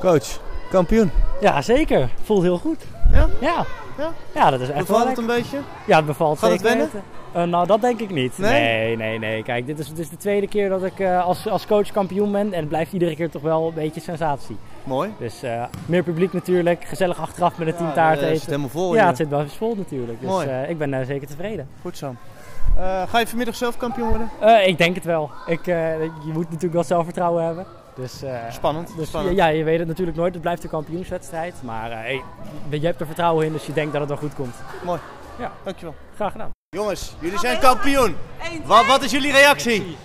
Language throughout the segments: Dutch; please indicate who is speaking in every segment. Speaker 1: Coach, kampioen.
Speaker 2: Ja, zeker. Voelt heel goed.
Speaker 1: Ja?
Speaker 2: Ja.
Speaker 1: Ja?
Speaker 2: Ja, dat is echt wel
Speaker 1: Bevalt het
Speaker 2: lekker.
Speaker 1: een beetje?
Speaker 2: Ja, het bevalt
Speaker 1: Gaat het
Speaker 2: zeker.
Speaker 1: wennen?
Speaker 2: Eh, nou, dat denk ik niet.
Speaker 1: Nee?
Speaker 2: nee, nee. nee. Kijk, dit is, dit is de tweede keer dat ik eh, als, als coach kampioen ben. En het blijft iedere keer toch wel een beetje sensatie.
Speaker 1: Mooi.
Speaker 2: Dus eh, meer publiek natuurlijk. Gezellig achteraf met een team
Speaker 1: Ja,
Speaker 2: taart
Speaker 1: eh, zit
Speaker 2: eten.
Speaker 1: helemaal vol
Speaker 2: Ja,
Speaker 1: hier.
Speaker 2: het zit wel eens vol natuurlijk. Dus
Speaker 1: Mooi.
Speaker 2: eh, ik ben eh, zeker tevreden.
Speaker 1: Goed zo. Eh, ga je vanmiddag zelf kampioen worden?
Speaker 2: Eh, ik denk het wel. Ik, eh, je moet natuurlijk wel zelfvertrouwen hebben. Dus, eh,
Speaker 1: Spannend.
Speaker 2: dus ja,
Speaker 1: spannend.
Speaker 2: ja, je weet het natuurlijk nooit. Het blijft een kampioenswedstrijd. Maar eh, je je hebt er vertrouwen in, dus je denkt dat het wel goed komt.
Speaker 1: Dankjewel.
Speaker 2: Graag gedaan.
Speaker 1: Jongens, jullie zijn kampioen. Wat, wat is jullie reactie?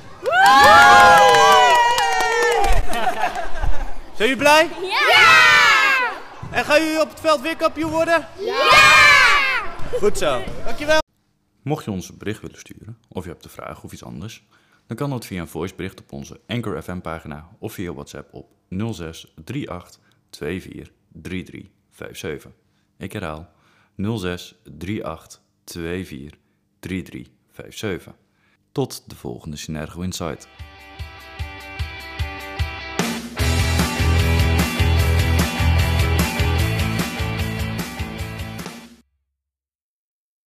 Speaker 1: Zijn jullie blij? En gaan jullie op het veld weer kampioen worden? Ja! Goed zo. Dankjewel.
Speaker 3: Mocht je ons een bericht willen sturen, of je hebt een vraag of iets anders, dan kan dat via een voicebericht op onze Anchor FM pagina of via WhatsApp op 06 38 24 33 57. Ik herhaal 06 38 24 33 57. Tot de volgende Synergo Insight.